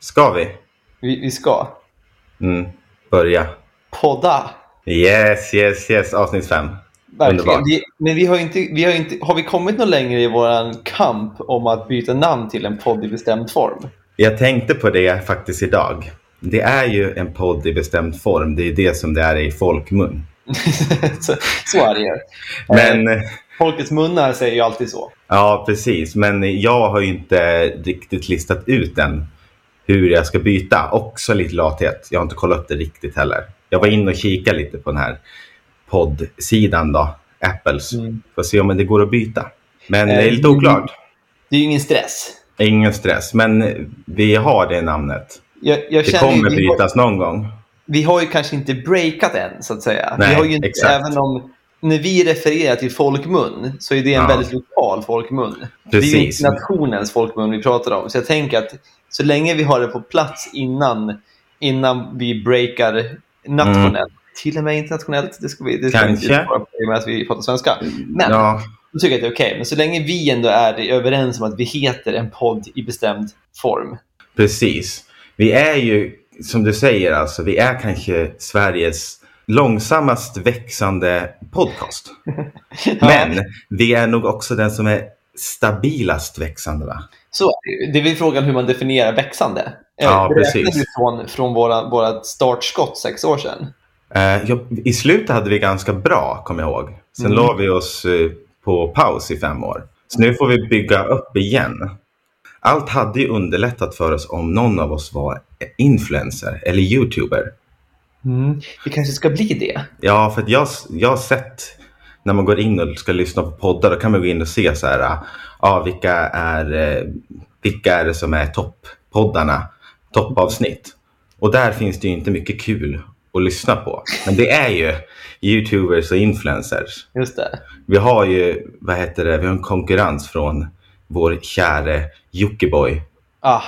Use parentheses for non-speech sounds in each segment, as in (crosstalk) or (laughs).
Ska vi? Vi, vi ska Mm. Börja. podda. Yes, yes, yes. Avsnitt fem. Verkligen. Underbart. Vi, men vi har, inte, vi har inte... Har vi kommit någon längre i vår kamp om att byta namn till en podd i bestämd form? (laughs) Jag tänkte på det faktiskt idag. Det är ju en podd i bestämd form. Det är det som det är i folkmun. så, så är det ju. Eh. Men, Folkets munnar säger ju alltid så. ja precis. Men jag har ju inte riktigt listat ut än hur jag ska byta. Också lite lathet. Jag har inte kollat upp det riktigt heller. Jag var inne och kikade lite på den här poddsidan då. Apples. Mm. Får se om det går att byta. Men Eh, det är lite mm. oklart. Det är ju ingen stress. Ingen stress, men vi har det namnet. Jag, jag Det känner ju, kommer vi, har, bytas någon gång. vi har ju kanske inte breakat än, så att säga. vi Nej, har ju inte, exakt. Även om när vi refererar till folkmun så är det en Ja. väldigt lokal folkmun. Det är ju Precis. inte nationens folkmun vi pratar om. Så jag tänker att så länge vi har det på plats innan, innan vi breakar nationellt, till och med internationellt, det ska vi, det ska vi inte Mm. Kanske. svara på i och med att vi pratar svenska. Men Ja, då tycker jag att det är okej. Men så länge vi ändå är överens om att vi heter en podd i bestämd form. precis. Vi är ju, som du säger, alltså, vi är kanske Sveriges långsammast växande podcast. Men vi är nog också den som är stabilast växande. Va? Så är det ju. det är väl frågan hur man definierar växande. Ja, Eh, det räknar precis. vi Från, från våra, vårat startskott sex år sedan. Eh, ja, I slutet hade vi ganska bra, kommer jag ihåg. Sen Mm. la vi oss eh, på paus i fem år. Så nu får vi bygga upp igen. Allt hade ju underlättat för oss om någon av oss var influencer eller youtuber. Mm. Vi kanske ska bli det. Ja, för att jag, jag har sett när man går in och ska lyssna på poddar, då kan man gå in och se så här, ah, ja, vilka, är, eh, vilka är det som är topppoddarna, toppavsnitt. Och där finns det ju inte mycket kul att lyssna på. Men det är ju youtubers och influencers. Just det. Vi har ju, vad heter det, vi har en konkurrens från vår käre Jockiboi. Ah,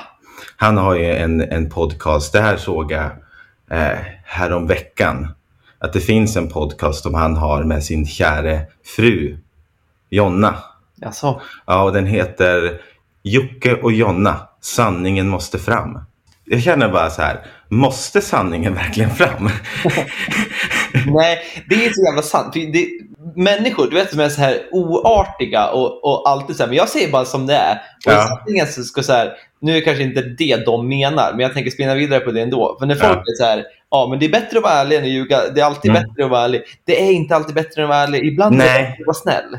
Han har ju en, en podcast. Det här såg jag eh, häromveckan. Att det finns en podcast som han har med sin käre fru Jonna. alltså. Ja, och den heter Jocke och Jonna. Sanningen måste fram. Jag känner bara så här, måste sanningen verkligen fram? (laughs) Nej, det är så jävla sant. För Det, människor du vet, som är så här oartiga och, och alltid så här, men jag säger bara som det är. Och Ja. ja. så ska så här, nu är kanske inte det de menar, men jag tänker spinna vidare på det ändå. För när folk Ja. är så här, ja men det är bättre att vara ärlig än att ljuga. Det är alltid Mm. bättre att vara ärlig. Det är inte alltid bättre att vara ärlig. Ibland är det Nej. bättre att vara snäll.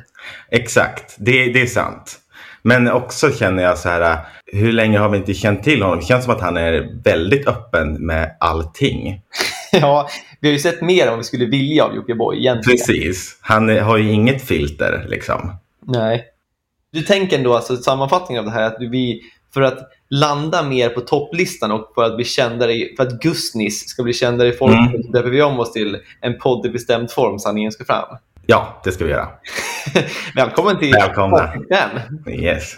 Exakt, det, det är sant. Men också känner jag så här, hur länge har vi inte känt till honom? Det känns som att han är väldigt öppen med allting. (laughs) ja, vi har ju sett mer om vi skulle vilja av Jockiboi egentligen. Precis. Han eh, har ju inget filter liksom. Nej. Du tänker ändå, alltså sammanfattningen av det här, att vi, för att landa mer på topplistan och för att bli kändare, i- för att Gustnis ska bli kändare i folk, Mm. så döper vi om oss till en podd i bestämd form, sanningen ska fram. Ja, det ska vi göra. Välkommen till Välkomna. avsnitt fem. Yes.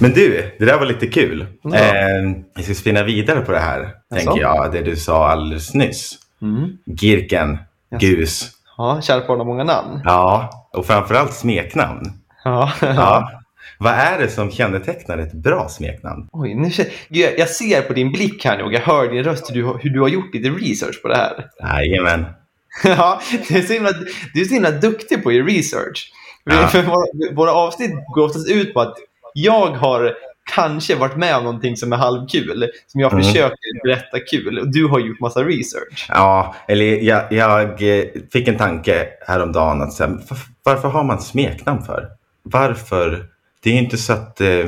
Men du, det där var lite kul. Ja. Eh, vi ska spinna vidare på det här, tänker jag. Det du sa alldeles nyss. Mm. Girken, Jaså. gus. Ja, kärt barn har många namn. Ja, och framförallt smeknamn. Ja. Ja. Vad är det som kännetecknar ett bra smeknamn? Oj, nu, känner- Gud, jag- jag ser på din blick här nu och jag hör din röst hur du, har- hur du har gjort lite research på det här. Jajamän. (laughs) Ja, du är så himla, du är så himla duktig på att göra research. Ja. (laughs) För våra, våra avsnitt går oftast ut på att jag har kanske varit med om någonting som är halvkul, som jag Mm. försöker berätta kul, och du har gjort massa research. Ja, eller jag, jag eh, fick en tanke häromdagen att så här, "Varf- varför har man smeknamn för? Varför? Det är ju inte så att eh,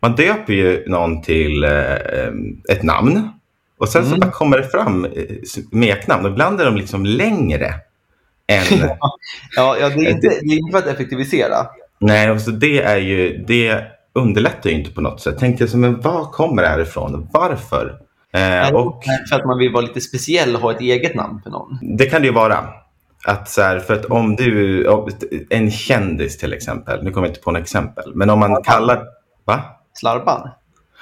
man döper ju någon till eh, eh, ett namn och sen så Mm. bara kommer det fram eh, smeknamn och ibland är de liksom längre än Ja, ja, det, är inte, det är inte för att effektivisera. Nej, och så det är ju, det underlättar ju inte på något sätt. Tänkte jag så, men var kommer det här ifrån? Varför? Eh, och Nej, För att man vill vara lite speciell och ha ett eget namn för någon. det kan det ju vara. Att så här, för att om du, om- en kändis till exempel, nu kommer jag inte på något exempel, men om man kallar, va? Slarban.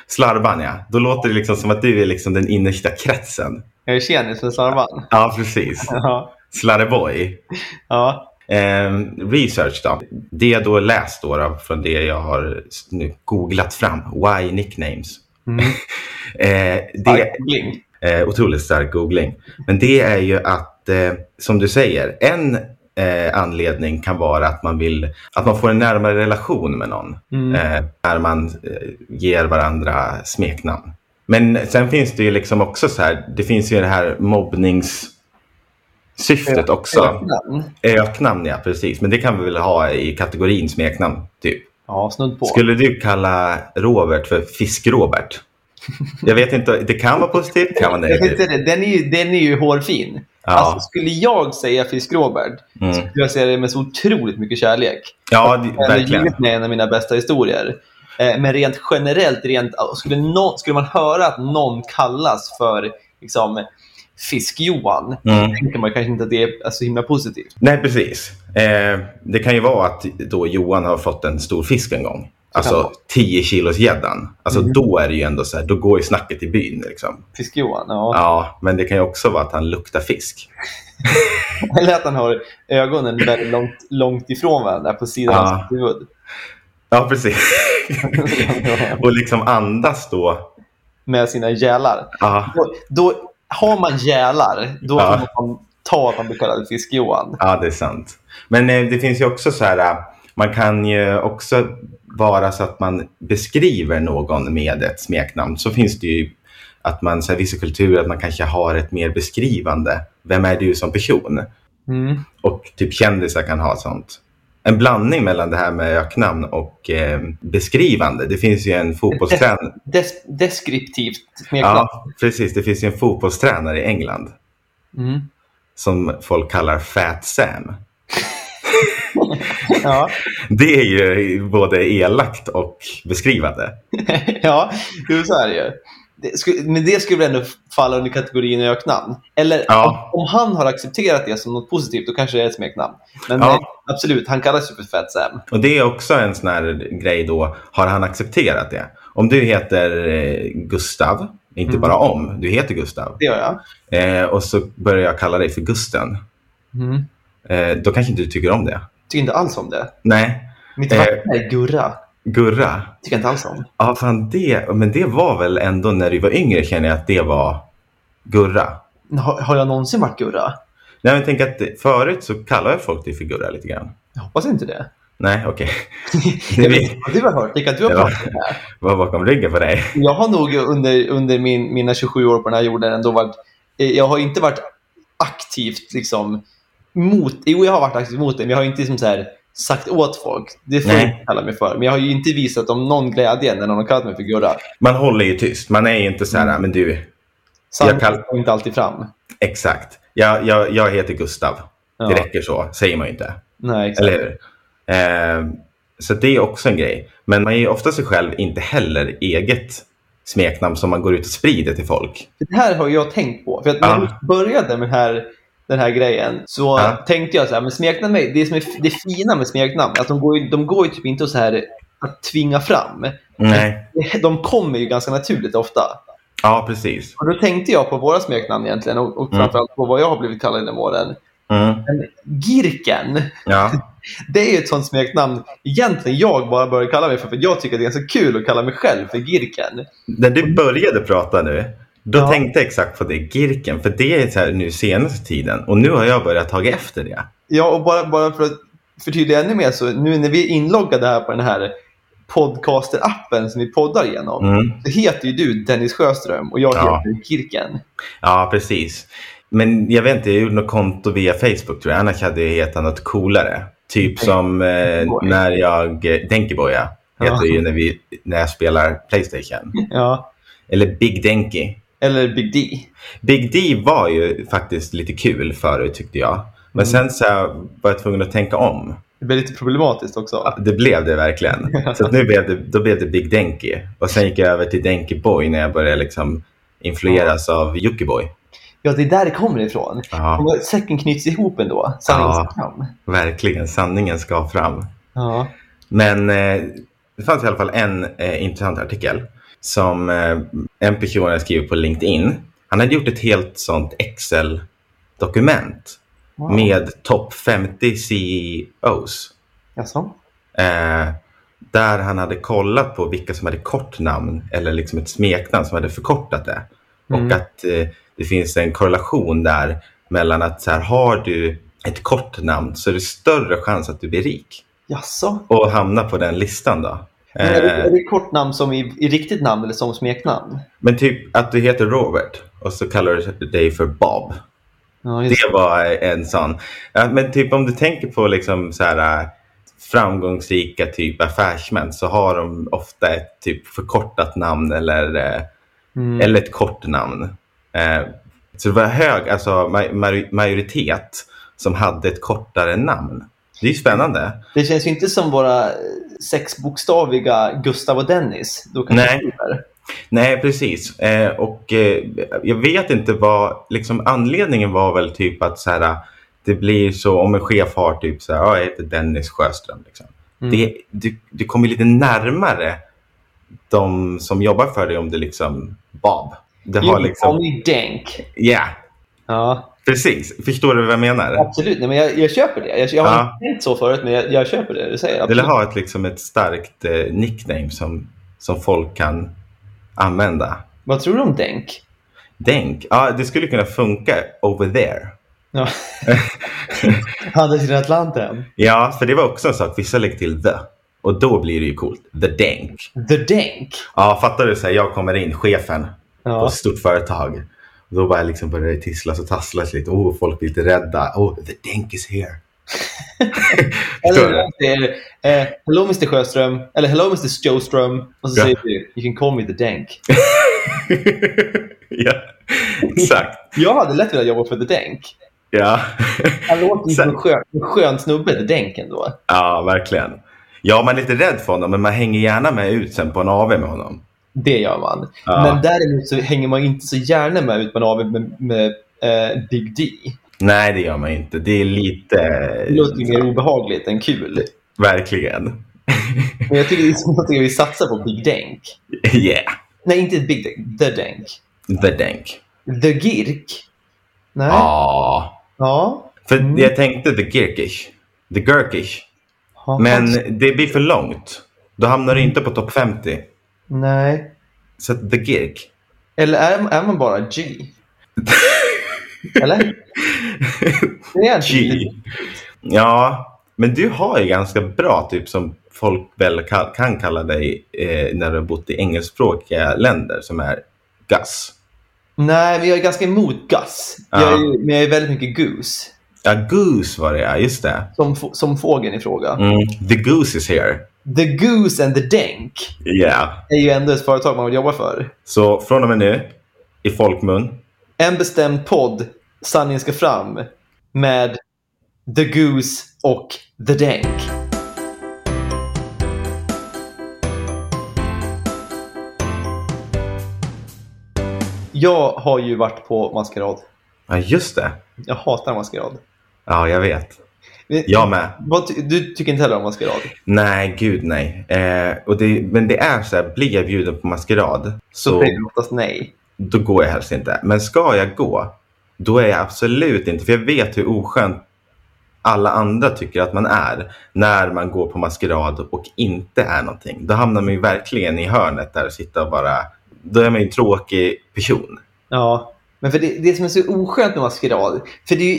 Slarban ja, då låter det liksom som att du är liksom den innersta kretsen. Jag är tjenis med Slarban. Ja, precis. (laughs) Ja, Slarreboy. ja. Ehm, research då. Det jag då läst då, då från det jag har nu googlat fram, why nicknames. Mm. Eh, det, Stark googling. Eh, otroligt stark googling. Men det är ju att, eh, som du säger, en eh, anledning kan vara att man vill att man får en närmare relation med någon Mm. eh, när man eh, ger varandra smeknamn. Men sen finns det ju liksom också så här, det finns ju det här mobbningssyftet också. Öknamn. Öknamn, ja precis. Men det kan vi väl ha i kategorin smeknamn, typ. Ja, snudd på. Skulle du kalla Robert för Fisk-Robert? Jag vet inte, det kan vara positivt, kan vara Jag negativt. tänkte det, den, är ju, den är ju hårfin. Ja. Alltså, skulle jag säga Fisk-Robert, Mm. skulle jag säga det med så otroligt mycket kärlek. Ja, det, Den har verkligen. givit mig en av mina bästa historier. Eh, Men rent generellt, rent, ah, skulle, nå- skulle man höra att någon kallas för liksom, Fisk-Johan, Mm. tänker man kanske inte att det är alltså, himla positivt. Nej, precis. Eh, det kan ju vara att då Johan har fått en stor fisk en gång. kan det Alltså vara. 10 kilos gäddan. Alltså Mm. då är det ju ändå så här, då går ju snacket i byn liksom. Fisk-Johan, ja. Ja, men det kan ju också vara att han luktar fisk. Eller att han har ögonen väldigt långt, långt ifrån varandra, på sidan Ja. av sitt huvud. Ja, (laughs) precis. Och liksom andas då. Med sina gälar. Ja, Då, då har man gälar, då Ja. får man ta att man blir kallad Fisk-Johan. ja det är sant. Men eh, det finns ju också så här, eh, man kan ju också vara så att man beskriver någon med ett smeknamn. Så finns det ju att man, så här, vissa kulturer, att man kanske har ett mer beskrivande. Vem är du som person? Mm. och typ kändisar kan ha sånt. En blandning mellan det här med öknamn och eh, beskrivande. Det finns ju en (laughs) fotbollstränare. Des- deskriptivt smeknamn. Ja, precis. Det finns ju en fotbollstränare i England Mm. som folk kallar Fat Sam. Ja. Det är ju både elakt och beskrivande. ja, jo, så är det ju. Det sku- Men det skulle väl ändå falla under kategorin öknamn? Eller Ja. om, om han har accepterat det som något positivt, då kanske det är ett smeknamn. Men Ja. nej, absolut, han kallas ju för Fat Sam. Och det är också en sån här grej då, har han accepterat det? Om du heter eh, Gustav, inte Mm. bara om, du heter Gustav. Det gör jag. Eh, och så börjar jag kalla dig för Gusten. Mm. Eh, då kanske inte du tycker om det. Tycker inte alls om det. Nej, Mitt Eh. vackra är Gurra. Gurra. Tycker jag inte alls om. Ja, fan det, men det var väl ändå när du var yngre känner jag att det var Gurra. Har, har jag någonsin varit Gurra? Nej, men tänk att förut så kallade jag folk dig för Gurra lite grann. Jag hoppas inte det. Nej, okej. (laughs) Jag Det vet vi- inte vad du har hört. Vilka du har Det var- pratat om det här. var bakom ryggen på dig. Jag har nog under, under min, mina 27 år på den här jorden ändå varit... eh, Jag har inte varit aktivt liksom mot... Jo, jag har varit aktivt mot det, men jag har inte liksom så här, sagt åt folk. Det får Nej. de kalla mig för. Men jag har ju inte visat dem någon glädje när någon har kallat mig för Gurra. Man håller ju tyst. Man är ju inte så här, Mm. men du, Sanningen kall- kommer inte alltid fram. exakt. Jag, jag, jag heter Gustav. Ja. Det räcker så, säger man ju inte. Nej, exakt. Eller hur? Eh, så det är också en grej. Men man är ju ofta sig själv inte heller eget smeknamn som man går ut och sprider till folk. Det här har jag tänkt på. För att när Ja. jag började med den här, den här grejen så Ja. tänkte jag så här, men smeknamn, är- det, som är, det fina med smeknamn är att de går ju, de går ju typ inte att så här, att tvinga fram. Nej. (laughs) De kommer ju ganska naturligt ofta. Ja, precis. Och då tänkte jag på våra smeknamn egentligen och, och Mm. framförallt på vad jag har blivit kallad genom åren. Mm. Girken, Ja. det är ju ett sånt smeknamn egentligen jag bara började kalla mig för, för jag tycker att det är ganska kul att kalla mig själv för Girken. När du började prata nu, då Ja. tänkte jag exakt på det, Girken. För det är så här nu senaste tiden och nu har jag börjat ta efter det. Ja, och bara, bara för att förtydliga ännu mer så nu när vi är inloggade här på den här podcaster-appen som vi poddar genom, Mm. så heter ju du Dennis Sjöström och jag Ja. heter Girken. Ja, precis. Men jag vet inte, jag gjorde något konto via Facebook tror jag. Annars hade jag hetat något coolare. Typ som eh, Denkiboy. när jag, eh, Denkiboja heter Ja. det ju när, vi, när jag spelar Playstation. Ja. Eller Big Denki. Eller Big D. Big D var ju faktiskt lite kul förut tyckte jag. Men sen så här var jag tvungen att tänka om. Det blir lite problematiskt också. Det blev det verkligen. Så att nu blev det, då blev det Big Denki. Och sen gick jag över till Denki Boy när jag började liksom influeras av Jockiboi. Ja, det är där det kommer ifrån. Ja, Och säcken knyts ihop ändå. Sanningens kam. verkligen. Sanningen ska fram. Ja. Men eh, det fanns i alla fall en eh, intressant artikel som eh, en person hade skrivit på LinkedIn. Han hade gjort ett helt sånt Excel-dokument Wow. med topp 50 CEOs. Jaså? Eh, där han hade kollat på vilka som hade kort namn eller liksom ett smeknamn som hade förkortat det. Mm. Och att eh, det finns en korrelation där mellan att så här, har du ett kort namn så är det större chans att du blir rik Jaså? och hamnar på den listan. då. Men är, det, är Eh, det kort namn som i, i riktigt namn eller som smeknamn? men typ att du heter Robert och så kallar du dig för Bob. Ja, just Det var en sån. Ja, Men typ om du tänker på liksom så här, äh, framgångsrika typ affärsmän så har de ofta ett typ förkortat namn eller, eh, Mm. eller ett kort namn. Eh, Så det var hög alltså, ma- ma- majoritet som hade ett kortare namn. Det är ju spännande. Det känns ju inte som våra eh, sexbokstaviga Gustav och Dennis. Då kan Nej. vi- Nej, precis. Eh, och eh, jag vet inte vad, liksom anledningen var väl typ att så här, det blir så, om en chef har typ så här, "Ja, jag heter Dennis Sjöström. Liksom. Mm. Det, du, du kommer lite närmare de som jobbar för dig om du liksom Bob. Du har You liksom, Johnny Denk. ja, Ja, precis. Förstår du vad jag menar? absolut. Nej, men jag, jag köper det. Jag, jag har Ja. inte tänkt så förut, men jag, jag köper det du säger. Du vill Absolut. ha ett, liksom, ett starkt eh, nickname som, som folk kan använda. Vad tror du om Denk? Denk, ja, det skulle kunna funka over there. (laughs) Ja. (laughs) Andra sidan Atlanten. Ja, för det var också en sak. Vissa lägger till the. Och då blir det ju coolt. The Denk. The Denk. Ja, fattar du? Så här, jag kommer in, chefen på Ja. ett stort företag. Och då bara liksom börjar det tisslas och tasslas lite. Oh, folk blir lite rädda. Oh, the Denk is (laughs) here. Förstår Eller du? man säger eh, Hello Mr Sjöström, eller Hello Mr Sjöström. Och så Ja. säger du You can call me the Denk. ja, exakt. Jag hade lätt velat jobba för the Denk. Ja. Han låter ju som Sen- en skön, en skön snubbe, the Denk ändå. (laughs) ja, verkligen. Ja, man är lite rädd för honom, men man hänger gärna med ut sen på en AV med honom. Det gör man. Ja. Men däremot så hänger man inte så gärna med ut på en AW med, med eh, Big D. Nej, det gör man inte. Det är lite... Det låter ju mer obehagligt än kul. Verkligen. (laughs) Men jag tycker det är som att vi satsar på Big Denk. yeah, Nej, inte Big Denk. The Denk. the Denk. The Girk. Nej. Ja. Ja. För Mm. jag tänkte the Girkish. The Girkish. Ha- Men det blir för långt. Då hamnar du inte på topp 50. Nej. Så att the Girk. Eller är, är man bara G? Eller? Det är inte G. (laughs) Ja, men du har ju ganska bra typ som folk väl ka- kan kalla dig eh, när du har bott i engelskspråkiga länder som är Gus. Nej, men jag är ganska emot Gus. Jag är, ju- Men jag är väldigt mycket Goose. Ja, Goose var det ja, just det. Som, få- som fågeln i fråga. Mm. The Goose is here. The Goose and the Denk Yeah. är ju ändå ett företag man vill jobba för. Så från och med nu, i folkmun, En bestämd podd, Sanningen ska fram, med The Goose och The Denk. Jag har ju varit på maskerad. ja just det. Jag hatar maskerad. Ja, jag vet. Vi- Jag med. Vad ty- Du tycker inte heller om maskerad? Nej, gud nej. Eh, och det, men det är så här, blir jag bjuden på maskerad Så så säger du oftast nej. då går jag helst inte. Men ska jag gå, då är jag absolut inte. För jag vet hur oskönt alla andra tycker att man är när man går på maskerad och inte är någonting. Då hamnar man ju verkligen i hörnet där och sitter och bara... Då är man ju en tråkig person. Ja, men för det, det som är så oskönt med maskerad, för det är ju,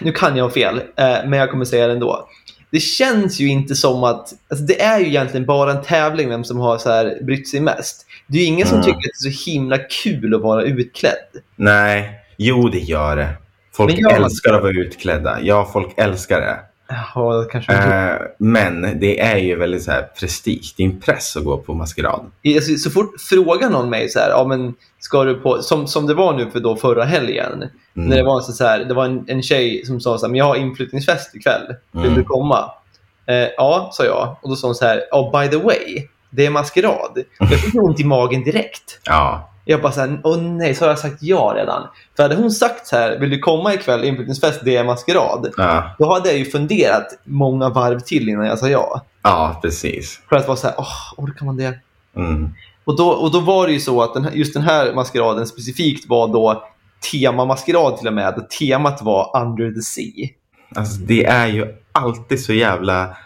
nu kan jag ha fel, eh, men jag kommer säga det ändå. Det känns ju inte som att, alltså det är ju egentligen bara en tävling vem som har så här brytt sig mest. Det är ju ingen som Mm. tycker att det är så himla kul att vara utklädd. Nej, jo det gör det. Folk Men jag- älskar att vara utklädda. Ja, folk älskar det. Ja, kanske Eh, men det är ju väldigt så här prestige. Det är en press att gå på maskerad. alltså, Så fort frågar någon mig så här, ja, men ska du på, som, som det var nu för då förra helgen, Mm. när det var, en sån- så här, det var en, en tjej som sa så här, men jag har inflyttningsfest ikväll. Vill Mm. du komma? Eh, ja, sa jag. Och då sa hon så här, oh, by the way, det är maskerad. Jag fick ont i magen direkt. Ja. Jag bara så här, åh nej, så har jag sagt ja redan. För hade hon sagt så här, vill du komma ikväll, inflyttningsfest, det är maskerad. Ja. Då hade jag ju funderat många varv till innan jag sa ja. ja, precis. För att vara så här, åh, orkar man det? Mm. Och då, och då var det ju så att den här, just den här maskeraden specifikt var då temamaskerad till och med. Där temat var Under the Sea. (laughs) Alltså, det är ju alltid så jävla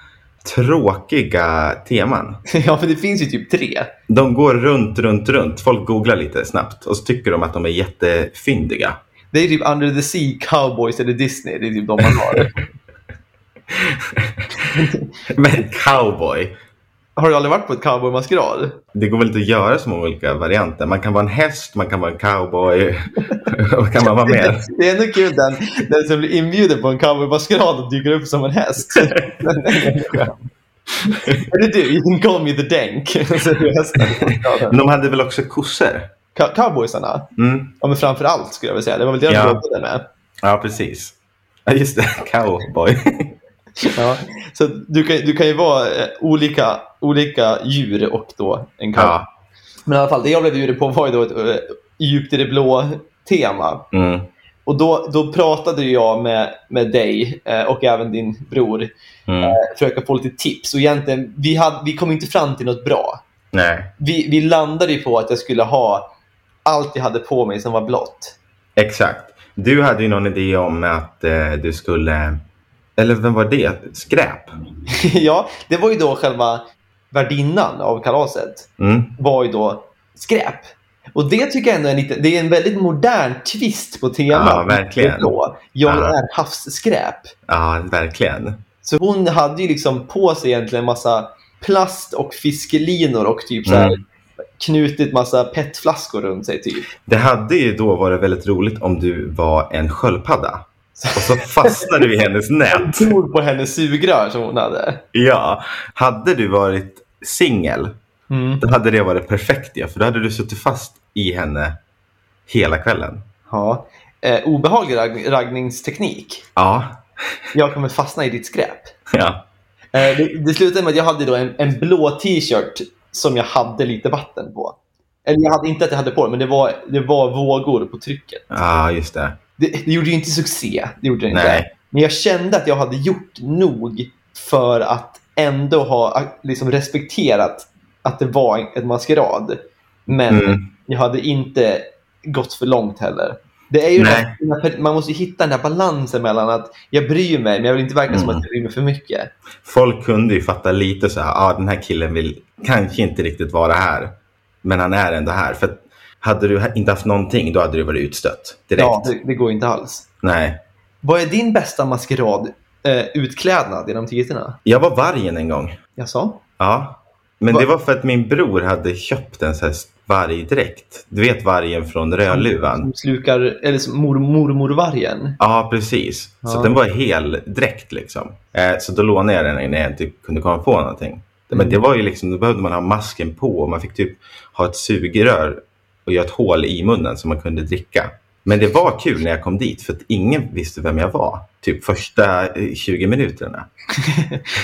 tråkiga teman. ja, för det finns ju typ tre. De går runt, runt, runt. Folk googlar lite snabbt och så tycker de att de är jättefyndiga. (laughs) Det är typ Under the Sea, Cowboys eller Disney. Det är typ de (laughs) man har. Men cowboy, har du aldrig varit på ett cowboymaskerad? det går väl inte att göra så många olika varianter. Man kan vara en häst, man kan vara en cowboy. (laughs) Vad kan man vara mer? (laughs) Det är ändå kul den, den som blir inbjuden på en cowboymaskerad och dyker upp som (laughs) en häst. är det du? You can call me the denk. (laughs) Så är det hästen. De hade väl också kossor? Cow- Cowboysarna? Mm. Ja, men framför allt skulle jag vilja säga. Det var väl det de Ja. jobbade med. Ja, precis. Ja, just det. (laughs) Cowboy. Ja. Så att du kan, du kan ju vara eh, olika, olika djur och då en cowboy. Ja. Men i alla fall, det jag blev bjuden på var ju då ett eh, djupt i det blå-tema. Mm. Och då, då pratade ju jag med, med dig eh, och även din bror Mm. eh, för att få lite tips. Och egentligen, vi, hade, vi kom inte fram till något bra. Nej, Vi, vi landade ju på att jag skulle ha allt jag hade på mig som var blått. (laughs) exakt. Du hade ju någon idé om att eh, du skulle... Eller vem var det? Skräp? ja, det var ju då själva värdinnan av kalaset Mm. var ju då skräp. Och det tycker jag ändå är en, lite, det är en väldigt modern twist på temat. Ja, verkligen. Det är blå. Jag Ja. är havsskräp. Ja, verkligen. Så hon hade ju liksom på sig egentligen massa plast och fiskelinor och typ så här Mm. knutit massa petflaskor runt sig. Typ. Det hade ju då varit väldigt roligt om du var en sköldpadda. Och så fastnade du i hennes nät. Tror på hennes sugrör som hon hade. Ja, hade du varit singel, då hade det varit perfekt. Ja, för då hade du suttit fast i henne hela kvällen. Ja. Eh, obehaglig ragg- raggningsteknik. Ja, Jag kommer fastna i ditt skräp. ja. Eh, det, det slutade med att jag hade då en, en blå t-shirt som jag hade lite vatten på. Eller jag hade inte att jag hade på det, men det var, det var vågor på trycket. ja just det. Det, det gjorde ju inte succé. Det gjorde det inte. Nej. Men jag kände att jag hade gjort nog för att ändå ha liksom, respekterat att det var en- en maskerad. Men Mm. jag hade inte gått för långt heller. Det är ju Nej. den här- man måste ju hitta den här balansen mellan att jag bryr mig, men jag vill inte verka som Mm. att jag bryr mig för mycket. Folk kunde ju fatta lite så här, ah, den här killen vill kanske inte riktigt vara här, men han är ändå här. För att hade du inte haft någonting, då hade du varit utstött direkt. Ja, det, det går ju inte alls. Nej. Vad är din bästa maskerad eh, utklädnad genom tiderna? Jag var vargen en gång. Jaså? Ja, men Va- det var för att min bror hade köpt en sån här vargdräkt. Du vet vargen från Rödluvan? Som slukar, eller som mor, mormorvargen? Ja, precis. Så Ja. att den var hel dräkt liksom. Eh, så då lånade jag den när jag inte kunde komma på någonting. Men Mm. det var ju liksom, då behövde man ha masken på och man fick typ ha ett sugrör och göra ett hål i munnen så man kunde dricka. Men det var kul när jag kom dit för att ingen visste vem jag var. Typ första eh, 20 minuterna.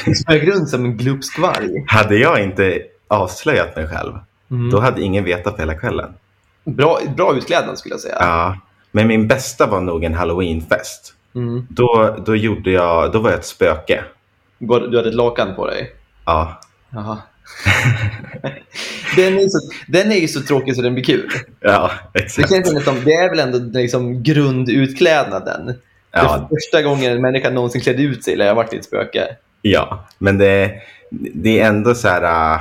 Du smög runt som en glupsk varg. Hade jag inte avslöjat mig själv, Mm. då hade ingen vetat på hela kvällen. Bra, bra utklädnad skulle jag säga. Ja, men min bästa var nog en halloweenfest. Mm. Då, då, gjorde jag, då var jag ett spöke. Var- Du hade ett lakan på dig. Ja, (laughs) Jaha. den, är så, den är ju så tråkig så den blir kul. ja Det, exakt. känns ändå som, det är väl ändå liksom grundutklädnaden. Ja, Det första gången en människa någonsin klädde ut sig eller jag varit ett spöke. ja. Men det, det är ändå så här äh,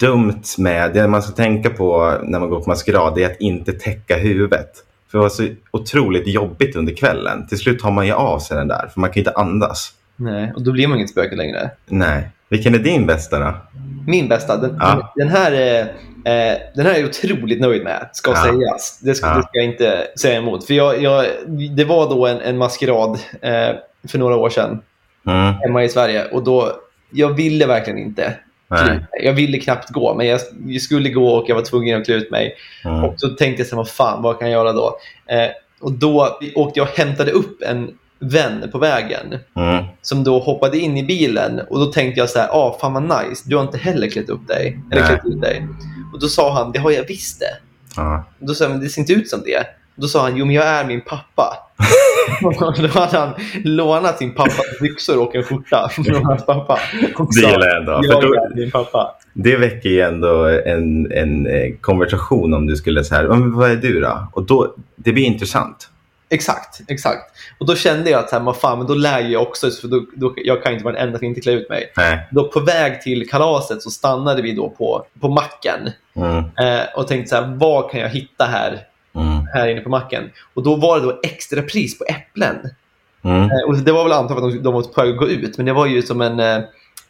dumt med... Det man ska tänka på när man går på maskerad det är att inte täcka huvudet. För det var så otroligt jobbigt under kvällen. Till slut tar man ju av sig den där, för man kan ju inte andas. Nej, och då blir man inget spöke längre. Nej. Vilken är din bästa då? Min bästa, den, Ja. den, den här, eh, eh, den här är jag otroligt nöjd med, ska Ja. sägas. Det ska, Ja. det ska jag inte säga emot. För jag, jag, det var då en, en maskerad eh, för några år sedan Mm, hemma i Sverige. Och då, jag ville verkligen inte nej. Jag ville knappt gå, men jag skulle gå och jag var tvungen att klä ut mig. Mm, Och så tänkte jag, så här, vad fan, vad kan jag göra då? Eh, och då åkte jag och hämtade upp en vän på vägen mm, som då hoppade in i bilen. Och då tänkte jag så här, ah, fan vad nice, du har inte heller klätt upp dig. Eller Nej. klätt ut dig. Och då sa han, det har jag visst det. ja. Och då sa jag, men det ser inte ut som det. Då sa han, jo men jag är (laughs) min pappa. Och då hade han lånat sin pappas byxor och en skjorta från hans pappa. Och Det gillar jag ändå. För jag då, är din pappa. det väcker ju ändå en, en eh, konversation om du skulle säga, men vad är du då? Och då, det blir intressant. Exakt, exakt. Och då kände jag att så här, "Men fan, men då lär jag också, för då, då, jag kan inte vara den enda som inte klär ut mig. Nej. Då på väg till kalaset så stannade vi då på, på macken Mm, eh, och tänkte så här, vad kan jag hitta här, mm, här inne på macken? Och då var det då extra pris på äpplen. mm. Eh, Och det var väl antagligen att de, de var på väg att gå ut, men det var ju som en... eh,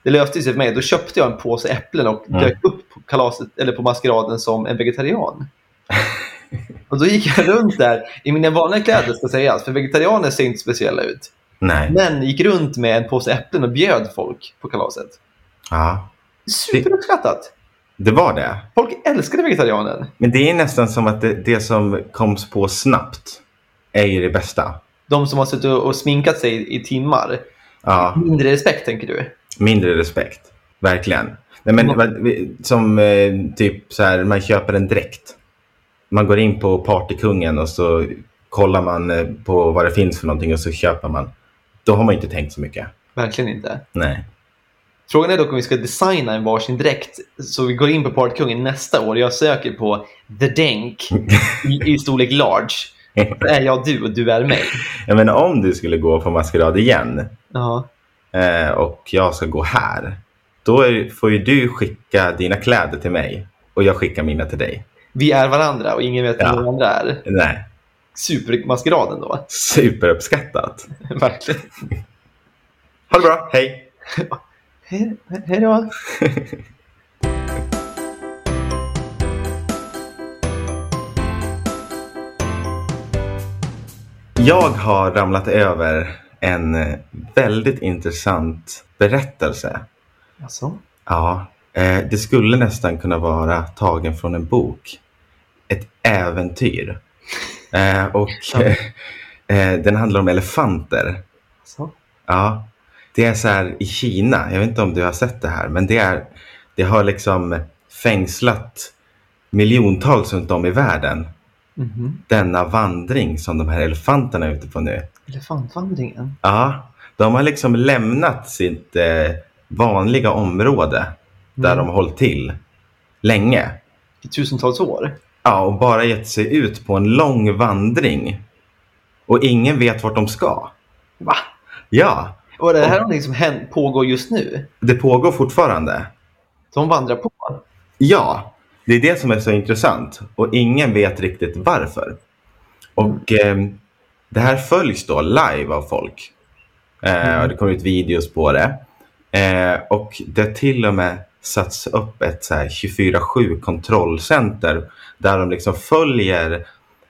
Det löste sig för mig. Då köpte jag en påse äpplen och Mm. dök upp på, kalaset, eller på maskeraden som en vegetarian. och då gick jag runt där i mina vanliga kläder, ska sägas, för vegetarianer ser inte speciella ut. Nej. Men gick runt med en påse äpplen och bjöd folk på kalaset. Ja, Superuppskattat! det var det. Folk älskade vegetarianen. Men det är nästan som att det, det som koms på snabbt är ju det bästa. De som har suttit och och sminkat sig i- i timmar. Ja, Mindre respekt, tänker du? mindre respekt. Verkligen. Nej, men, Mm. vad- vi- som eh, typ så här, man köper en dräkt. Man går in på Partykungen och så kollar man eh, på vad det finns för någonting och så köper man. Då har man inte tänkt så mycket. Verkligen inte. Nej. Frågan är dock om vi ska designa en varsin dräkt så vi går in på Partykungen nästa år. Jag söker på The Denk i, i storlek large. Då är jag du och du är mig. Jag menar om du skulle gå på maskerad igen Ja, eh, och jag ska gå här. Då är, får ju du skicka dina kläder till mig och jag skickar mina till dig. vi är varandra och ingen vet vem Ja. den andra är. Nej. Supermaskeraden då. (laughs) Superuppskattat. Verkligen. Ha det bra. Hej. Hej hej då. Jag har ramlat över en eh, väldigt intressant berättelse. Alltså, Ja, eh, det skulle nästan kunna vara tagen från en bok. Ett äventyr. Eh, och eh, (laughs) eh, den handlar om elefanter. alltså. Ja, det är så här i Kina. Jag vet inte om du har sett det här, men det, är, det har liksom fängslat miljontals runt om i världen. Mhm. Denna vandring som de här elefanterna är ute på nu. Elefantvandringen. Ja, de har liksom lämnat sitt eh, vanliga område där Mm. de har hållit till länge. I tusentals år. Ja, och bara gett sig ut på en lång vandring. Och ingen vet vart de ska. Va? Ja, Och det här är någonting som händer, pågår just nu. det pågår fortfarande. De vandrar på. Ja, det är det som är så intressant. Och ingen vet riktigt varför. Och eh, det här följs då live av folk. Eh, och det kommer ut videos på det. Eh, och det har till och med satts upp ett så här 24-7 kontrollcenter där de liksom följer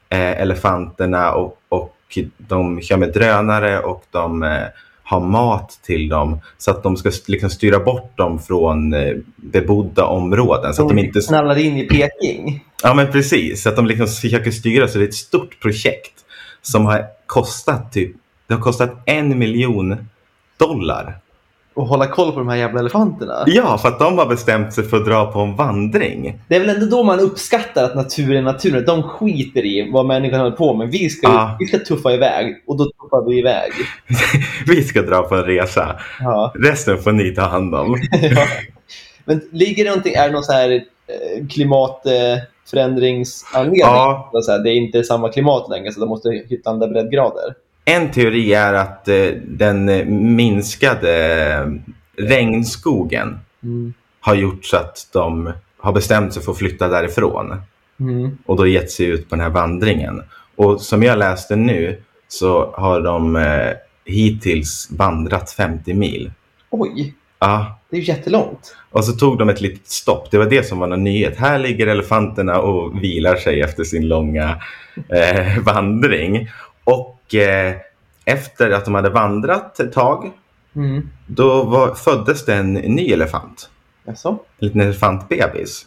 eh, elefanterna och, och de kör med drönare och de eh, har mat till dem så att de ska st- liksom styra bort dem från eh, bebodda områden. Så att de inte... knallar in i Peking. Ja, men precis. Så att de liksom försöker styra. Så det är ett stort projekt som har kostat typ... Det har kostat en miljon dollar. Och hålla koll på de här jävla elefanterna. Ja, för att de har bestämt sig för att dra på en vandring. (laughs) Det är väl ändå då man uppskattar att naturen är naturen. De skiter i vad människan håller på med. Vi ska, Ja. vi ska tuffa iväg och då tuffar vi iväg. Vi ska dra på en resa. (laughs) Ja. Resten får ni ta hand om. Ja. Men ligger det någonting, är det någon så här eh, klimatförändringsanledning? Ja. Det är inte samma klimat längre så de måste hitta andra breddgrader. En teori är att eh, den eh, minskade eh, regnskogen Mm. har gjort så att de har bestämt sig för att flytta därifrån Mm. och då gett sig ut på den här vandringen. Och som jag läste nu så har de eh, hittills vandrat 50 mil. Oj, Ja. det är ju jättelångt. Och så tog de ett litet stopp. Det var det som var någon nyhet. Här ligger elefanterna och vilar sig efter sin långa eh, (laughs) vandring. Och eh, efter att de hade vandrat ett tag Mm. Då var, föddes det en ny elefant. Jaså? En liten elefantbebis.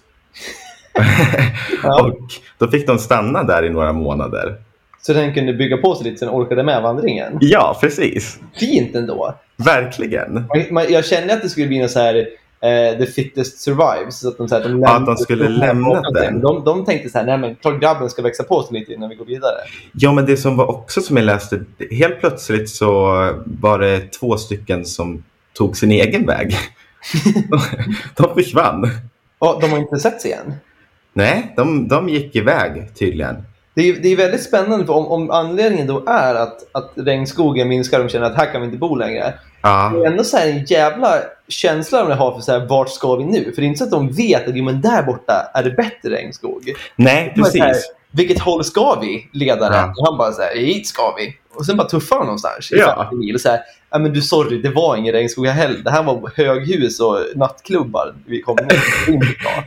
Ja. Och då fick de stanna där i några månader. Så den kunde bygga på sig lite sen orkade med vandringen. Ja, precis. Fint ändå. Verkligen. Man, man, jag kände att det skulle bli någon så här eh, The Fittest Survives. Så att de, så här, de Ja, att de skulle lämna de, den. de, de tänkte så här, nej men klart grabben ska växa på sig lite innan vi går vidare. Ja, men det som var också som jag läste, helt plötsligt så var det två stycken som tog sin egen väg. (laughs) de försvann. Och de har inte setts igen. Nej, de, de gick iväg tydligen. Det är, ju- det är väldigt spännande för om, om anledningen då är att, att regnskogen minskar och de känner att här kan vi inte bo längre. Det Ja, är ändå så här en jävla känsla de har för så här, vart ska vi nu? För det är inte så att de vet att jo, men där borta är det bättre regnskog. nej, De är så här, precis. Vilket håll ska vi, ledaren? Ja. Och han bara så här, hit ska vi. Och sen bara tuffar de någonstans i Ja. 50 mil. Och så här, ja men du sorry, det var ingen regnskog här heller. Det här var höghus och nattklubbar vi kom ner till. Det är inte bra.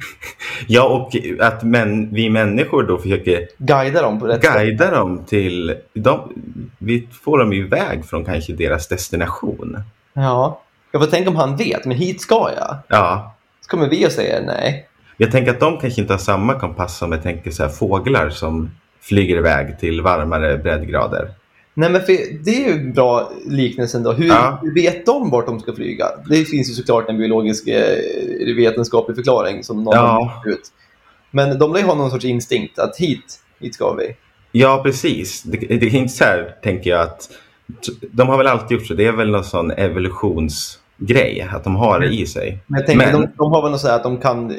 Ja, och att män, vi människor då försöker Guida dem på rätt sätt. guida dem till... De, vi får dem iväg från kanske deras destination. Ja. Jag får tänka om han vet, men hit ska jag. Ja, Så kommer vi och säger nej. Jag tänker att de kanske inte har samma kompass som jag tänker så här, fåglar som flyger iväg till varmare breddgrader. Nej, men för, det är ju en bra liknelse ändå. Hur Ja. hur vet de vart de ska flyga? Det finns ju såklart en biologisk eh, vetenskaplig förklaring som någon Ja. har kommit ut. Men de lär ju ha någon sorts instinkt att hit, hit ska vi. Ja, precis. Det, det är inte så här, tänker jag, att de har väl alltid gjort så. Det är väl någon sån evolutionsgrej, att de har Mm. det i sig. Men jag tänker, Men- De, de har väl något så här att de kan, eh,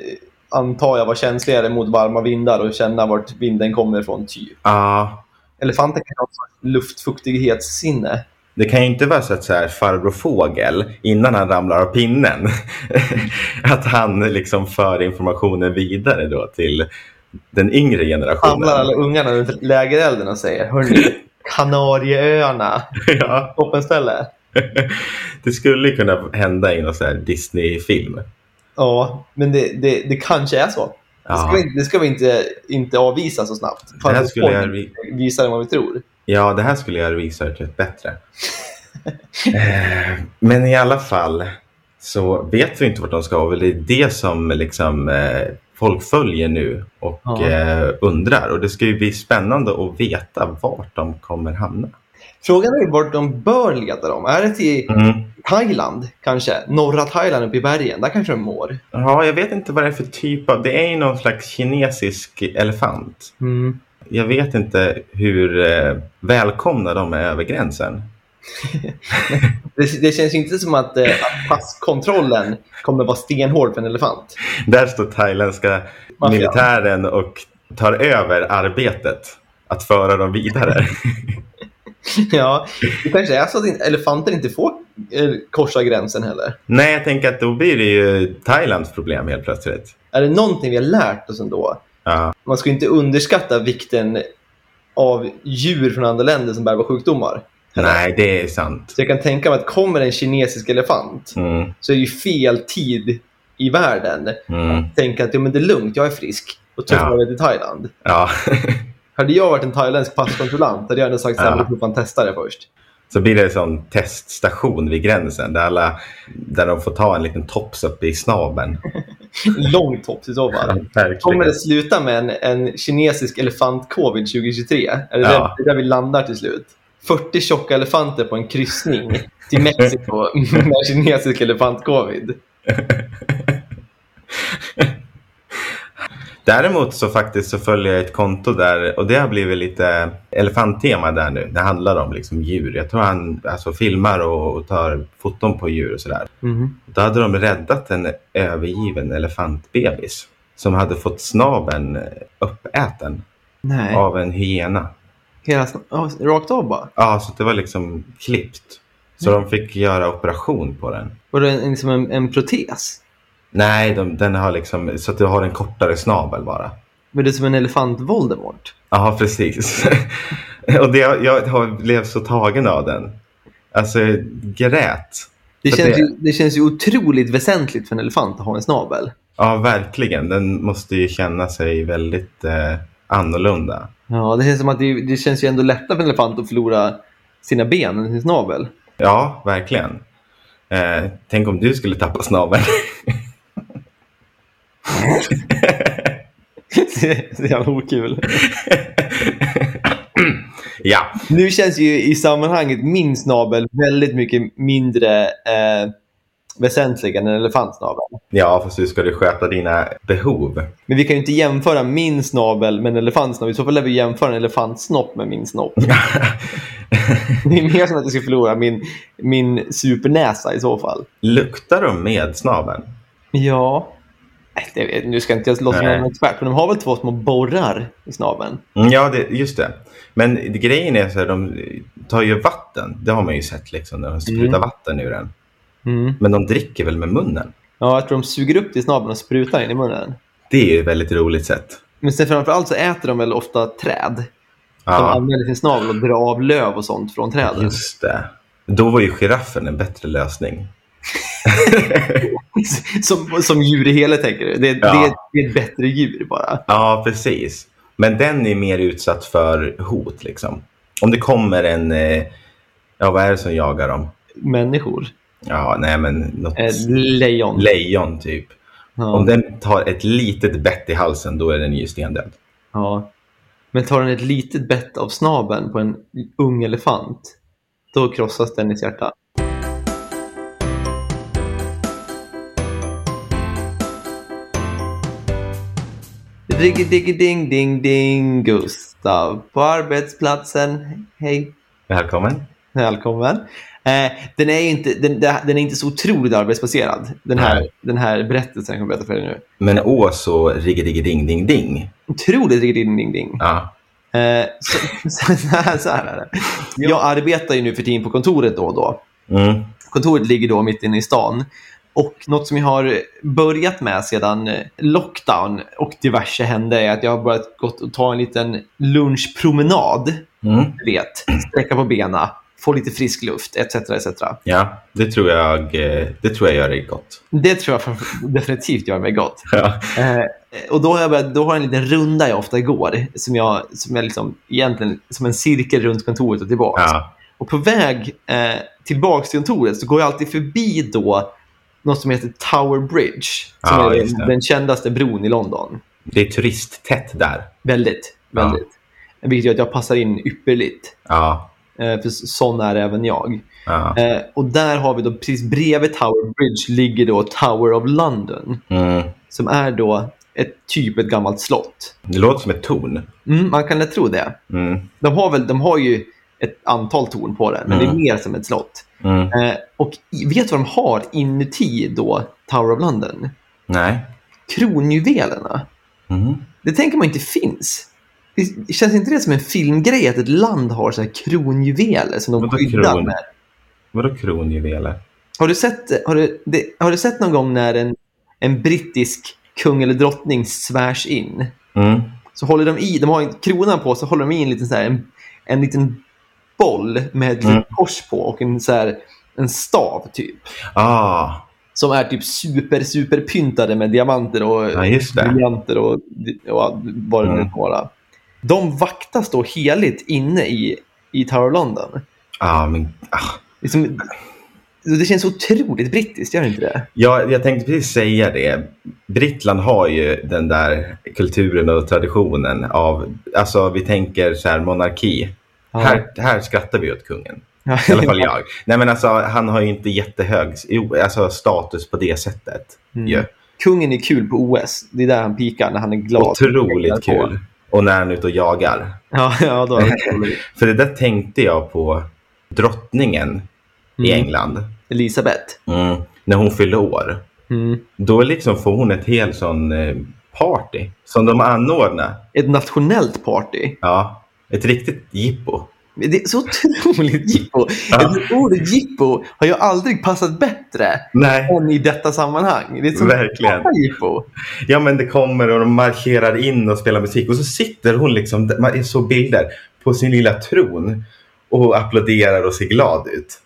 antar jag, vara känsligare mot varma vindar och känna vart vinden kommer ifrån, typ. Ja, Elefanter kan ha ett sorts luftfuktighetssinne. det kan ju inte vara så att så här, farbror fågel, innan han ramlar av pinnen, (laughs) att han liksom för informationen vidare då till den yngre generationen. Samlar alla ungarna runt lägerelden och säger Hörni, Kanarieöarna, (laughs) ja. toppenställe. Det skulle kunna hända i någon sån här Disney-film. Ja, men det, det, det kanske är så. Det ska, Ja. vi, inte- det ska vi inte, inte avvisa så snabbt. Det här skulle jag, Folk visar vad vi tror. ja, det här skulle jag researcha bättre. (laughs) Eh, Men i alla fall så vet vi inte vart de ska. Och det är det som liksom, eh, folk följer nu och Ja. eh, undrar. Och det ska ju bli spännande att veta vart de kommer hamna. Frågan är ju vart de bör leta dem. Är det till Thailand kanske? Norra Thailand uppe i bergen. Där kanske de mår. Ja, jag vet inte vad det är för typ av... Det är ju någon slags kinesisk elefant. Jag vet inte hur eh, välkomna de är över gränsen. Det, det känns ju inte som att, eh, att passkontrollen kommer vara stenhård för en elefant. (laughs) Där står thailändska Maffian. militären och tar över arbetet att föra dem (laughs) vidare. ja, det kanske är så att in- elefanter inte får eh, korsa gränsen heller. Nej, jag tänker att då blir det ju Thailands problem helt plötsligt. Är det någonting vi har lärt oss ändå? Ja, Man ska ju inte underskatta vikten av djur från andra länder som bär på sjukdomar. nej, det är sant. Så jag kan tänka mig att kommer en kinesisk elefant Mm, så är det ju fel tid i världen. mm, Tänka att ja, men det är lugnt, jag är frisk och tuffar Ja. mig till Thailand. ja. (laughs) Hade jag varit en thailändsk passkontrollant hade jag ändå sagt så här, Ja. ja. får fan testa det först. Så blir det en sån teststation vid gränsen där, alla, där de får ta en liten tops upp i snabeln. Lång tops i så Ja, fall. Kommer verkligen. det sluta med en, en kinesisk elefant-covid 2023? Är det, Ja. där, det är där vi landar till slut? 40 tjocka elefanter på en kryssning till Mexiko (laughs) med kinesisk elefant-covid. Däremot så faktiskt så följer jag ett konto där och det har blivit lite elefanttema där nu. Det handlar om liksom djur. Jag tror han alltså, filmar och, och tar foton på djur och sådär. Mm-hmm. Då hade de räddat en övergiven elefantbebis som hade fått snabeln uppäten Nej, av en hyena. hela, ja, rakt av bara. Ja, så det var liksom klippt. Så de fick göra operation på den. Var det en, liksom en, en protes? Nej, de, den har liksom, så att du har en kortare snabel bara. Var det som en elefant-Voldemort? Ja, precis. (laughs) och det, jag har, blev så tagen av den. Alltså, jag grät. Det För känns, det- ju, det känns ju otroligt väsentligt för en elefant att ha en snabel. Ja, verkligen. Den måste ju känna sig väldigt eh, annorlunda. Ja, det känns som att det, det känns ju ändå lättare för en elefant att förlora sina ben än sin snabel. (laughs) Ja, verkligen. Eh, tänk om du skulle tappa snabeln. det är jävla okul. (laughs) ja, Nu känns ju i sammanhanget min snabel väldigt mycket mindre eh, väsentligen en elefantsnabel. Ja, fast hur ska du sköta dina behov? Men vi kan ju inte jämföra min snabel med en elefantsnabel. I så fall lär vi jämföra en elefantsnopp med min snopp. Det är mer som att jag skulle förlora min, min supernäsa i så fall. Luktar de med snabeln? Ja. Nej, det vet- Nu ska inte jag låta som Nej. en expert, men de har väl två små borrar i snabeln? Mm, Ja, det, just det. Men grejen är så här, de tar ju vatten. Det har man ju sett liksom, när de sprutar Mm. vatten ur den. Men de dricker väl med munnen? Ja, jag tror de suger upp det i snabeln och sprutar in i munnen. Det är ju ett väldigt roligt sätt. Men sen framförallt så äter de väl ofta träd. De Ja, använder sin snabel och drar av löv och sånt från träden. just det. Då var ju giraffen en bättre lösning. (laughs) Som, som djur i hela tänker du? Det, Ja. det, det är ett bättre djur bara. Ja, precis. Men den är mer utsatt för hot. liksom. Om det kommer en... eh, Ja, vad är det som jagar dem? Människor. Ja, nej men något Eh, lejon. lejon typ. Om ja. den tar ett litet bett i halsen, då är den ju stendöd. Ja. Men tar den ett litet bett av snabeln på en ung elefant, då krossas den i hjärta. Riggi diggi ding ding ding Gustav på arbetsplatsen. Hej Välkommen. Välkommen. Eh, den, är ju inte, den, den är inte så otroligt arbetsbaserad, den här, Nej. den här berättelsen jag kommer berätta för er nu. Men å så riggedigeding-ding-ding. Otroligt riggi ding ding ding. Ja. Eh, så, (laughs) så, så, här, så här är det. Jag arbetar ju nu för tiden på kontoret då och då. Mm. Kontoret ligger då mitt inne i stan. Och något som jag har börjat med sedan eh, lockdown och diverse hände är att jag har börjat gått och ta en liten lunchpromenad. Mm. Du vet, sträcka på benen, få lite frisk luft etc. etc. Ja, det tror jag, eh, det tror jag gör dig gott. Det tror jag framför- definitivt gör mig gott. Ja. Eh, och då har, jag börjat, då har jag en liten runda jag ofta går, som, jag, som, är liksom, egentligen, som en cirkel runt kontoret och tillbaka. Ja. Och på väg eh, tillbaka till kontoret så går jag alltid förbi då något som heter Tower Bridge, som Ja, är just det. den, den kändaste bron i London. Det är turisttätt där. Väldigt, Ja. väldigt. Vilket gör att jag passar in ypperligt. Ja. Eh, för sån är även jag. ja. Eh, och där har vi då, precis bredvid Tower Bridge ligger då Tower of London, Mm. som är då ett typ ett gammalt slott. Det låter som ett torn. Mm, man kan lätt tro det. Mm. De har, väl, de har ju ett antal torn på det, men Mm. det är mer som ett slott. Mm. Eh, och i- vet du vad de har inuti då Tower of London? Nej. Kronjuvelerna. Mm. Det tänker man inte finns. Det känns inte det som en filmgrej att ett land har så här kronjuveler som de Vadå skyddar kron? med? Vadå kronjuveler? Har du sett, har du, det, har du sett någon gång när en, en brittisk kung eller drottning svärs in? Mm. Så håller de i, de har en krona på, så håller de i en liten, så här, en, en liten boll med ett litet Mm. kors på och en, så här, en stav typ. Ah, som är typ super, super pyntade med diamanter och ja, just det. briljanter och, och vad det nu Mm. kan vara. De vaktas då heligt inne i, i Tower of London. Ah, men, ah. Liksom, det känns otroligt brittiskt, gör det inte det? Ja, jag tänkte precis säga det. Brittland har ju den där kulturen och traditionen av, alltså vi tänker så här monarki. Ja. Här, här skrattar vi åt kungen. Ja. (laughs) I alla fall jag. Nej men alltså han har ju inte jättehög jo, alltså, status på det sättet. Mm. ju. Kungen är kul på OS. Det är där han pikar när han är glad. Otroligt Tänker jag på. kul. Och när han är ute och jagar. Ja, (laughs) ja då är det roligt. För det där tänkte jag på drottningen i Mm. England. Elisabeth. Mm. När hon fyllde år. Mm. Då liksom får hon ett helt sån eh, party som de anordnar. Ett nationellt party. Ja, ett riktigt jippo. Det är så otroligt jippo. Ja. Ordet jippo har ju aldrig passat bättre Nej, än i detta sammanhang. Det är ett sånt verkligen. jävla jippo. Ja, men det kommer och de marscherar in och spelar musik och så sitter hon liksom, man är så bilder, på sin lilla tron och applåderar och ser glad ut.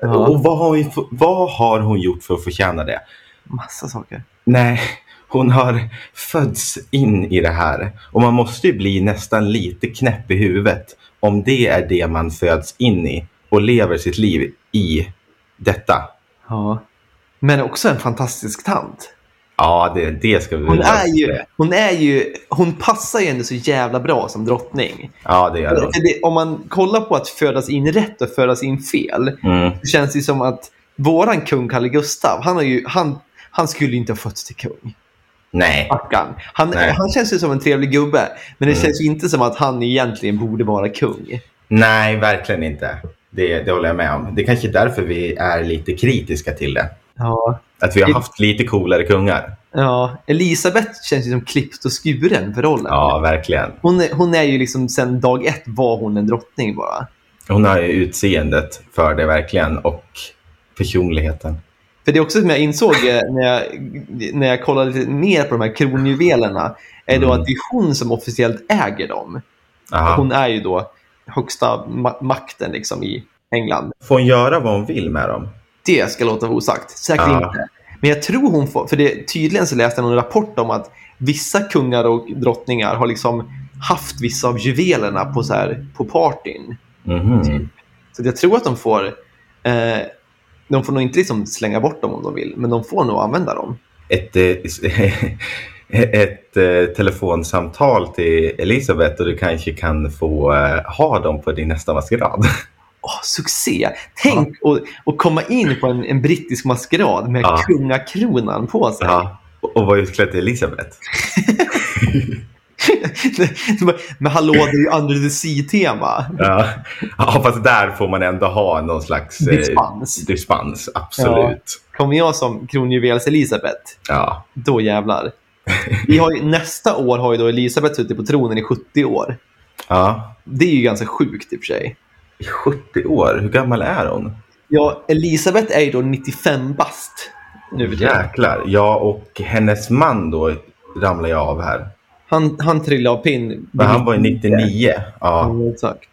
Ja. Och vad har, hon, f- vad har hon gjort för att förtjäna det? Massa saker. Nej, hon har fötts in i det här. Och man måste ju bli nästan lite knäpp i huvudet om det är det man föds in i och lever sitt liv i detta. Ja. Men också en fantastisk tant. Ja, det, det ska vi Hon väl är, ju, hon är ju... Hon passar ju ändå så jävla bra som drottning. Ja, det gör hon. För det, om man kollar på att födas in rätt och födas in fel Mm. så känns det som att våran kung Kalle Gustav, han, har ju, han, han skulle ju inte ha fötts till kung. Nej. Stackarn. Han, Nej. han känns ju som en trevlig gubbe, men det Mm. känns ju inte som att han egentligen borde vara kung. Nej, verkligen inte. Det, det håller jag med om. Det är kanske är därför vi är lite kritiska till det. Ja. Att vi har haft lite coolare kungar. ja. Elisabeth känns ju som klippt och skuren för rollen. Ja, verkligen. Hon, är, hon är ju liksom sen dag ett var hon en drottning bara. Hon har ju utseendet för det verkligen och personligheten. För det är också som jag insåg eh, när jag, när jag kollade lite mer på de här kronjuvelerna, är då Mm. att det är hon som officiellt äger dem. Aha. Hon är ju då högsta ma- makten liksom i England. Får hon göra vad hon vill med dem? Det ska låta vara osagt. Säkert Ja. inte. Men jag tror hon får, för det, tydligen så läste jag någon rapport om att vissa kungar och drottningar har liksom haft vissa av juvelerna på, så här, på partyn. Mhm. Så jag tror att de får, eh, de får nog inte liksom slänga bort dem om de vill, men de får nog använda dem. Ett, eh, (laughs) ett eh, telefonsamtal till Elisabeth och du kanske kan få eh, ha dem på din nästa maskerad. Åh, succé! Tänk att att komma in på en, en brittisk maskerad med Ja. kungakronan på sig. (laughs) Ja. (laughs) Och och vara utklädd till Elisabeth. Men hallå, det är ju Under the Sea-tema. Ja. (laughs) ja, fast där får man ändå ha någon slags eh, Dispens. dispens. Absolut. Kommer jag som kronjuvels Elisabeth, Ja. då jävlar. Vi har ju, nästa år har ju då Elisabeth suttit på tronen i 70 år. ja. Det är ju ganska sjukt i och för sig. I 70 år, hur gammal är hon? Ja, Elisabeth är ju då 95 bast nu för tiden. Jäklar. Ja, och hennes man då ramlar jag av här. Han, han trillade av pinn. Men han var ju 99. Ja, Ja, exakt.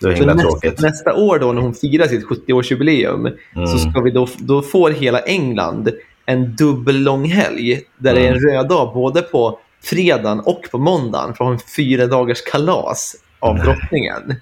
det var Så himla tråkigt. nästa, nästa år då när hon firar sitt 70-årsjubileum så Mm. ska vi då, då får hela England en dubbel lång helg där det är Mm. en röd dag både på fredagen och på måndagen för att ha en fyra dagars kalas av drottningen.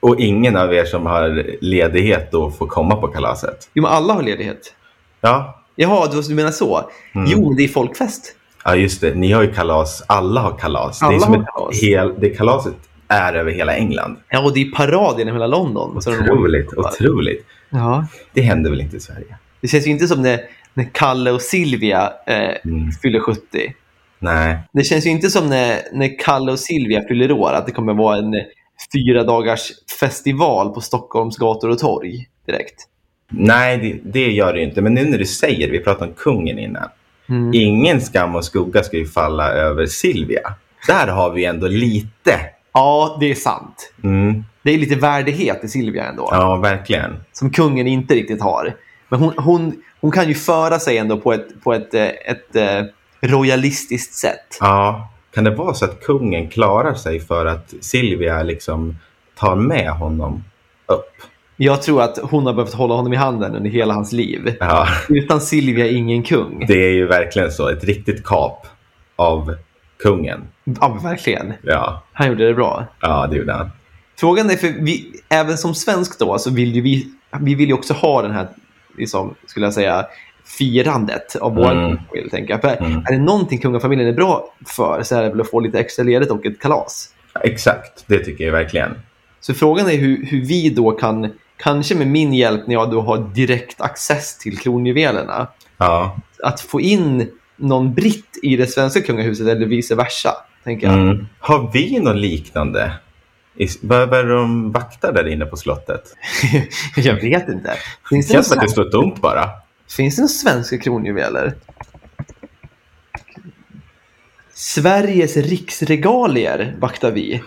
Och ingen av er som har ledighet då får komma på kalaset. Jo, men alla har ledighet. Ja, Jaha, du, du menar så? Mm. Jo, men det är folkfest. ja just det. Ni har ju kalas. Alla har kalas. det Alla är som har ett kalas. Hel, det kalaset är över hela England. Ja, och det är parad genom hela London. Så de- Otroligt, otroligt. Ja. Det händer väl inte i Sverige? Det känns ju inte som när, när Kalle och Silvia eh, Mm. fyller 70. Nej. Det känns ju inte som när, när Kalle och Silvia fyller år att det kommer vara en eh, fyra dagars festival på Stockholms gator och torg direkt. Nej, det, det gör det ju inte. Men nu när du säger det, vi pratade om kungen innan. Mm. Ingen skam och skugga ska ju falla över Silvia. Där har vi ju ändå lite. Ja, det är sant. Mm. Det är lite värdighet i Silvia ändå, Ja, verkligen. som kungen inte riktigt har. Men hon, hon, hon kan ju föra sig ändå på ett, på ett, eh, ett eh, royalistiskt sätt. Ja, kan det vara så att kungen klarar sig för att Silvia liksom tar med honom upp? Jag tror att hon har behövt hålla honom i handen under hela hans liv. Ja, Utan Silvia, ingen kung. det är ju verkligen så. Ett riktigt kap av kungen. Ja, men verkligen. Ja, Han gjorde det bra. ja det gjorde han. Frågan är, för vi, även som svensk då, så vill ju vi, vi vill ju också ha den här, liksom, skulle jag säga, firandet av vår Mm. kung, vill jag tänka. För Mm. är det någonting kungafamiljen är bra för så är det väl att få lite extra ledigt och ett kalas. Ja, Exakt, det tycker jag verkligen. Så frågan är hur, hur vi då kan, kanske med min hjälp när jag då har direkt access till kronjuvelerna, Ja, att få in någon britt i det svenska kungahuset eller vice versa. Tänker jag. mm. Har vi något liknande? I- Vad vad är det de vaktar där inne på slottet? (laughs) jag vet inte. Finns Det det, någon känns som att det svensk, står tomt bara. finns det någon svenska kronjuveler? Sveriges riksregalier vaktar vi.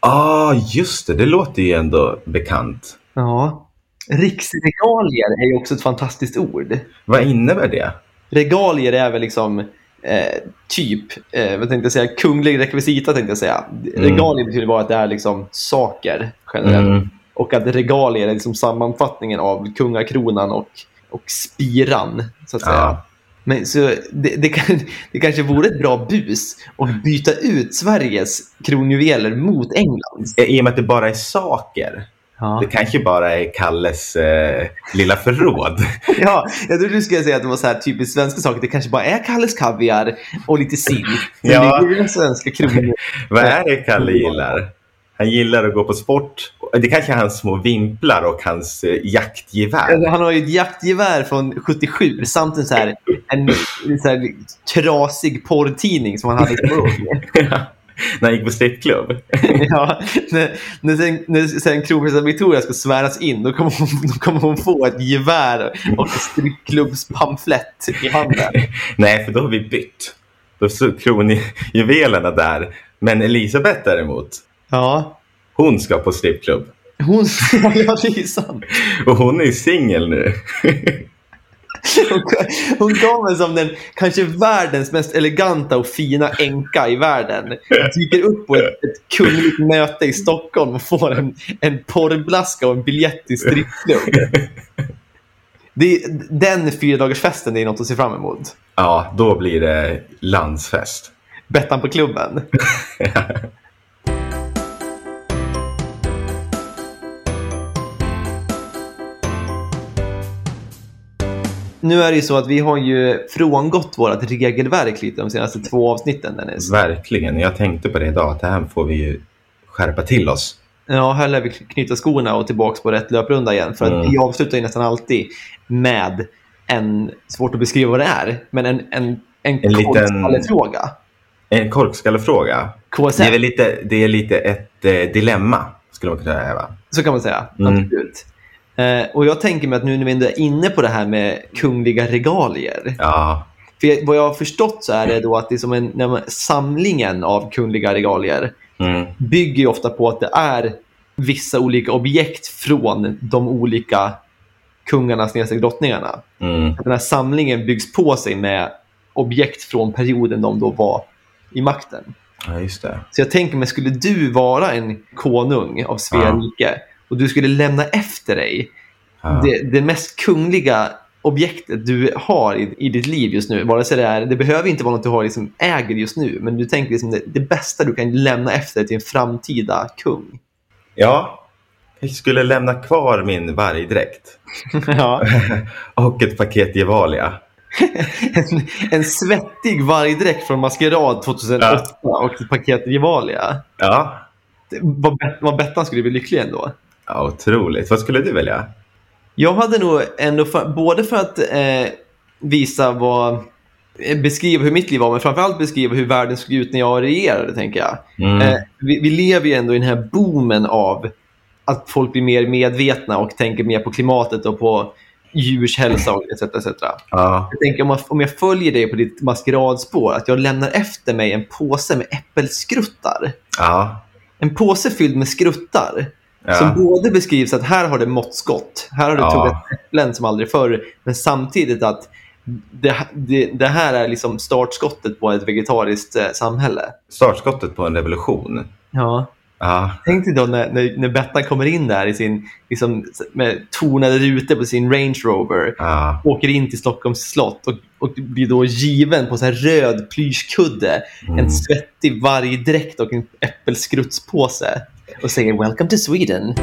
Ja, ah, just det. Det låter ju ändå bekant. Ja. Riksregalier är ju också ett fantastiskt ord. Vad innebär det? Regalier är väl liksom eh, typ, eh, vad tänkte jag säga, kunglig rekvisita tänkte jag säga. Regalier betyder bara att det är liksom saker generellt. Mm. Och att regalier är liksom sammanfattningen av kungakronan och, och spiran. Så att säga. Ja. Men så det, det, kan, (laughs) det kanske vore ett bra bus att byta ut Sveriges kronjuveler mot Englands. Eh, I och med att det bara är saker Ja. Det kanske bara är Kalles eh, lilla förråd. (laughs) (laughs) ja, jag trodde du skulle säga att det var så här typiskt svenska saker. Det kanske bara är Kalles (laughs) kaviar och lite sill. Men Ja. Det är ju den svenska kronjuveler. Vad är det Kalle gillar? Han gillar att gå på sport. Det kanske är hans små vimplar och hans eh, jaktgevär. Alltså, han har ju ett jaktgevär från 77 samt en, så här, en så här, trasig porrtidning som han hade som ung. (laughs) När han gick på strippklubb. (laughs) (laughs) ja, när, när sen, när sen kronprinsessan Victoria ska sväras in då kommer, hon, då kommer hon få ett gevär och en strippklubbspamflett i handen. Nej, för då har vi bytt. Då stod (laughs) kronjuvelerna där. Men Elisabeth däremot, Ja, hon ska på strippklubb. hon... (laughs) ja, det är sant. Och hon är ju singel nu. Hon, hon gav mig som den kanske världens mest eleganta och fina änka i världen. Dyker upp på ett, ett kungligt möte i Stockholm och får en, en porrblaska och en biljett till strippklubb. Det är, den fyradagarsfesten det är något att se fram emot. Ja, då blir det landsfest. Bettan på klubben. Nu är det ju så att vi har ju frångått vårt regelverk lite de senaste två avsnitten, Dennis. Verkligen. Jag tänkte på det idag, att det här får vi ju skärpa till oss. Ja, här lär vi knyta skorna och tillbaka på rätt löprunda igen. För att Mm. vi avslutar ju nästan alltid med en, svårt att beskriva vad det är, men en, en, en, En liten- fråga. En korkskallefråga. KSL, Det är, väl lite, det är lite ett eh, dilemma, skulle man kunna säga. Va? så kan man säga. Mm. Absolut. Eh, och jag tänker mig att nu när vi ändå är inne på det här med kungliga regalier. Ja, För jag- vad jag har förstått så är det då att det är som en, när man, samlingen av kungliga regalier mm, bygger ju ofta på att det är vissa olika objekt från de olika kungarna snedstreck drottningarna. mm, Att den här samlingen byggs på sig med objekt från perioden de då var i makten. ja, just det. Så jag tänker mig, skulle du vara en konung av Svea Ja. rike och du skulle lämna efter dig Ja. det, det mest kungliga objektet du har i, i ditt liv just nu. Vare sig det, är, det behöver inte vara något du har liksom äger just nu, men du tänker liksom det, det bästa du kan lämna efter dig till en framtida kung. ja, jag skulle lämna kvar min vargdräkt ja. och ett paket Gevalia. (laughs) en, en svettig vargdräkt från Maskerad 2008 och ett paket Gevalia. Ja, Det- Vad, Bet- vad Bettan skulle bli lycklig ändå. ja otroligt. Vad skulle du välja? Jag hade nog ändå, för, både för att eh, visa vad, eh, beskriva hur mitt liv var, men framförallt beskriva hur världen såg ut när jag regerade, tänker jag. Mm, Eh, vi, vi lever ju ändå i den här boomen av att folk blir mer medvetna och tänker mer på klimatet och på djurs hälsa och etc. etc. ja, Jag tänker om, jag, om jag följer dig på ditt maskeradspår, att jag lämnar efter mig en påse med äppelskruttar. ja, En påse fylld med skruttar. Som ja, både beskrivs att här har det mått skott, här har du Ja. tuggat äpplen som aldrig förr, men samtidigt att det, det, det här är liksom startskottet på ett vegetariskt eh, samhälle. startskottet på en revolution. Ja. Ja, Tänk dig då när, när, när Bettan kommer in där i sin, liksom, med tonade rutor på sin Range Rover ja, åker in till Stockholms slott och, och blir då given på så här röd plyschkudde, Mm. en svettig vargdräkt och en äppelskrutspåse och säger “Welcome to Sweden”.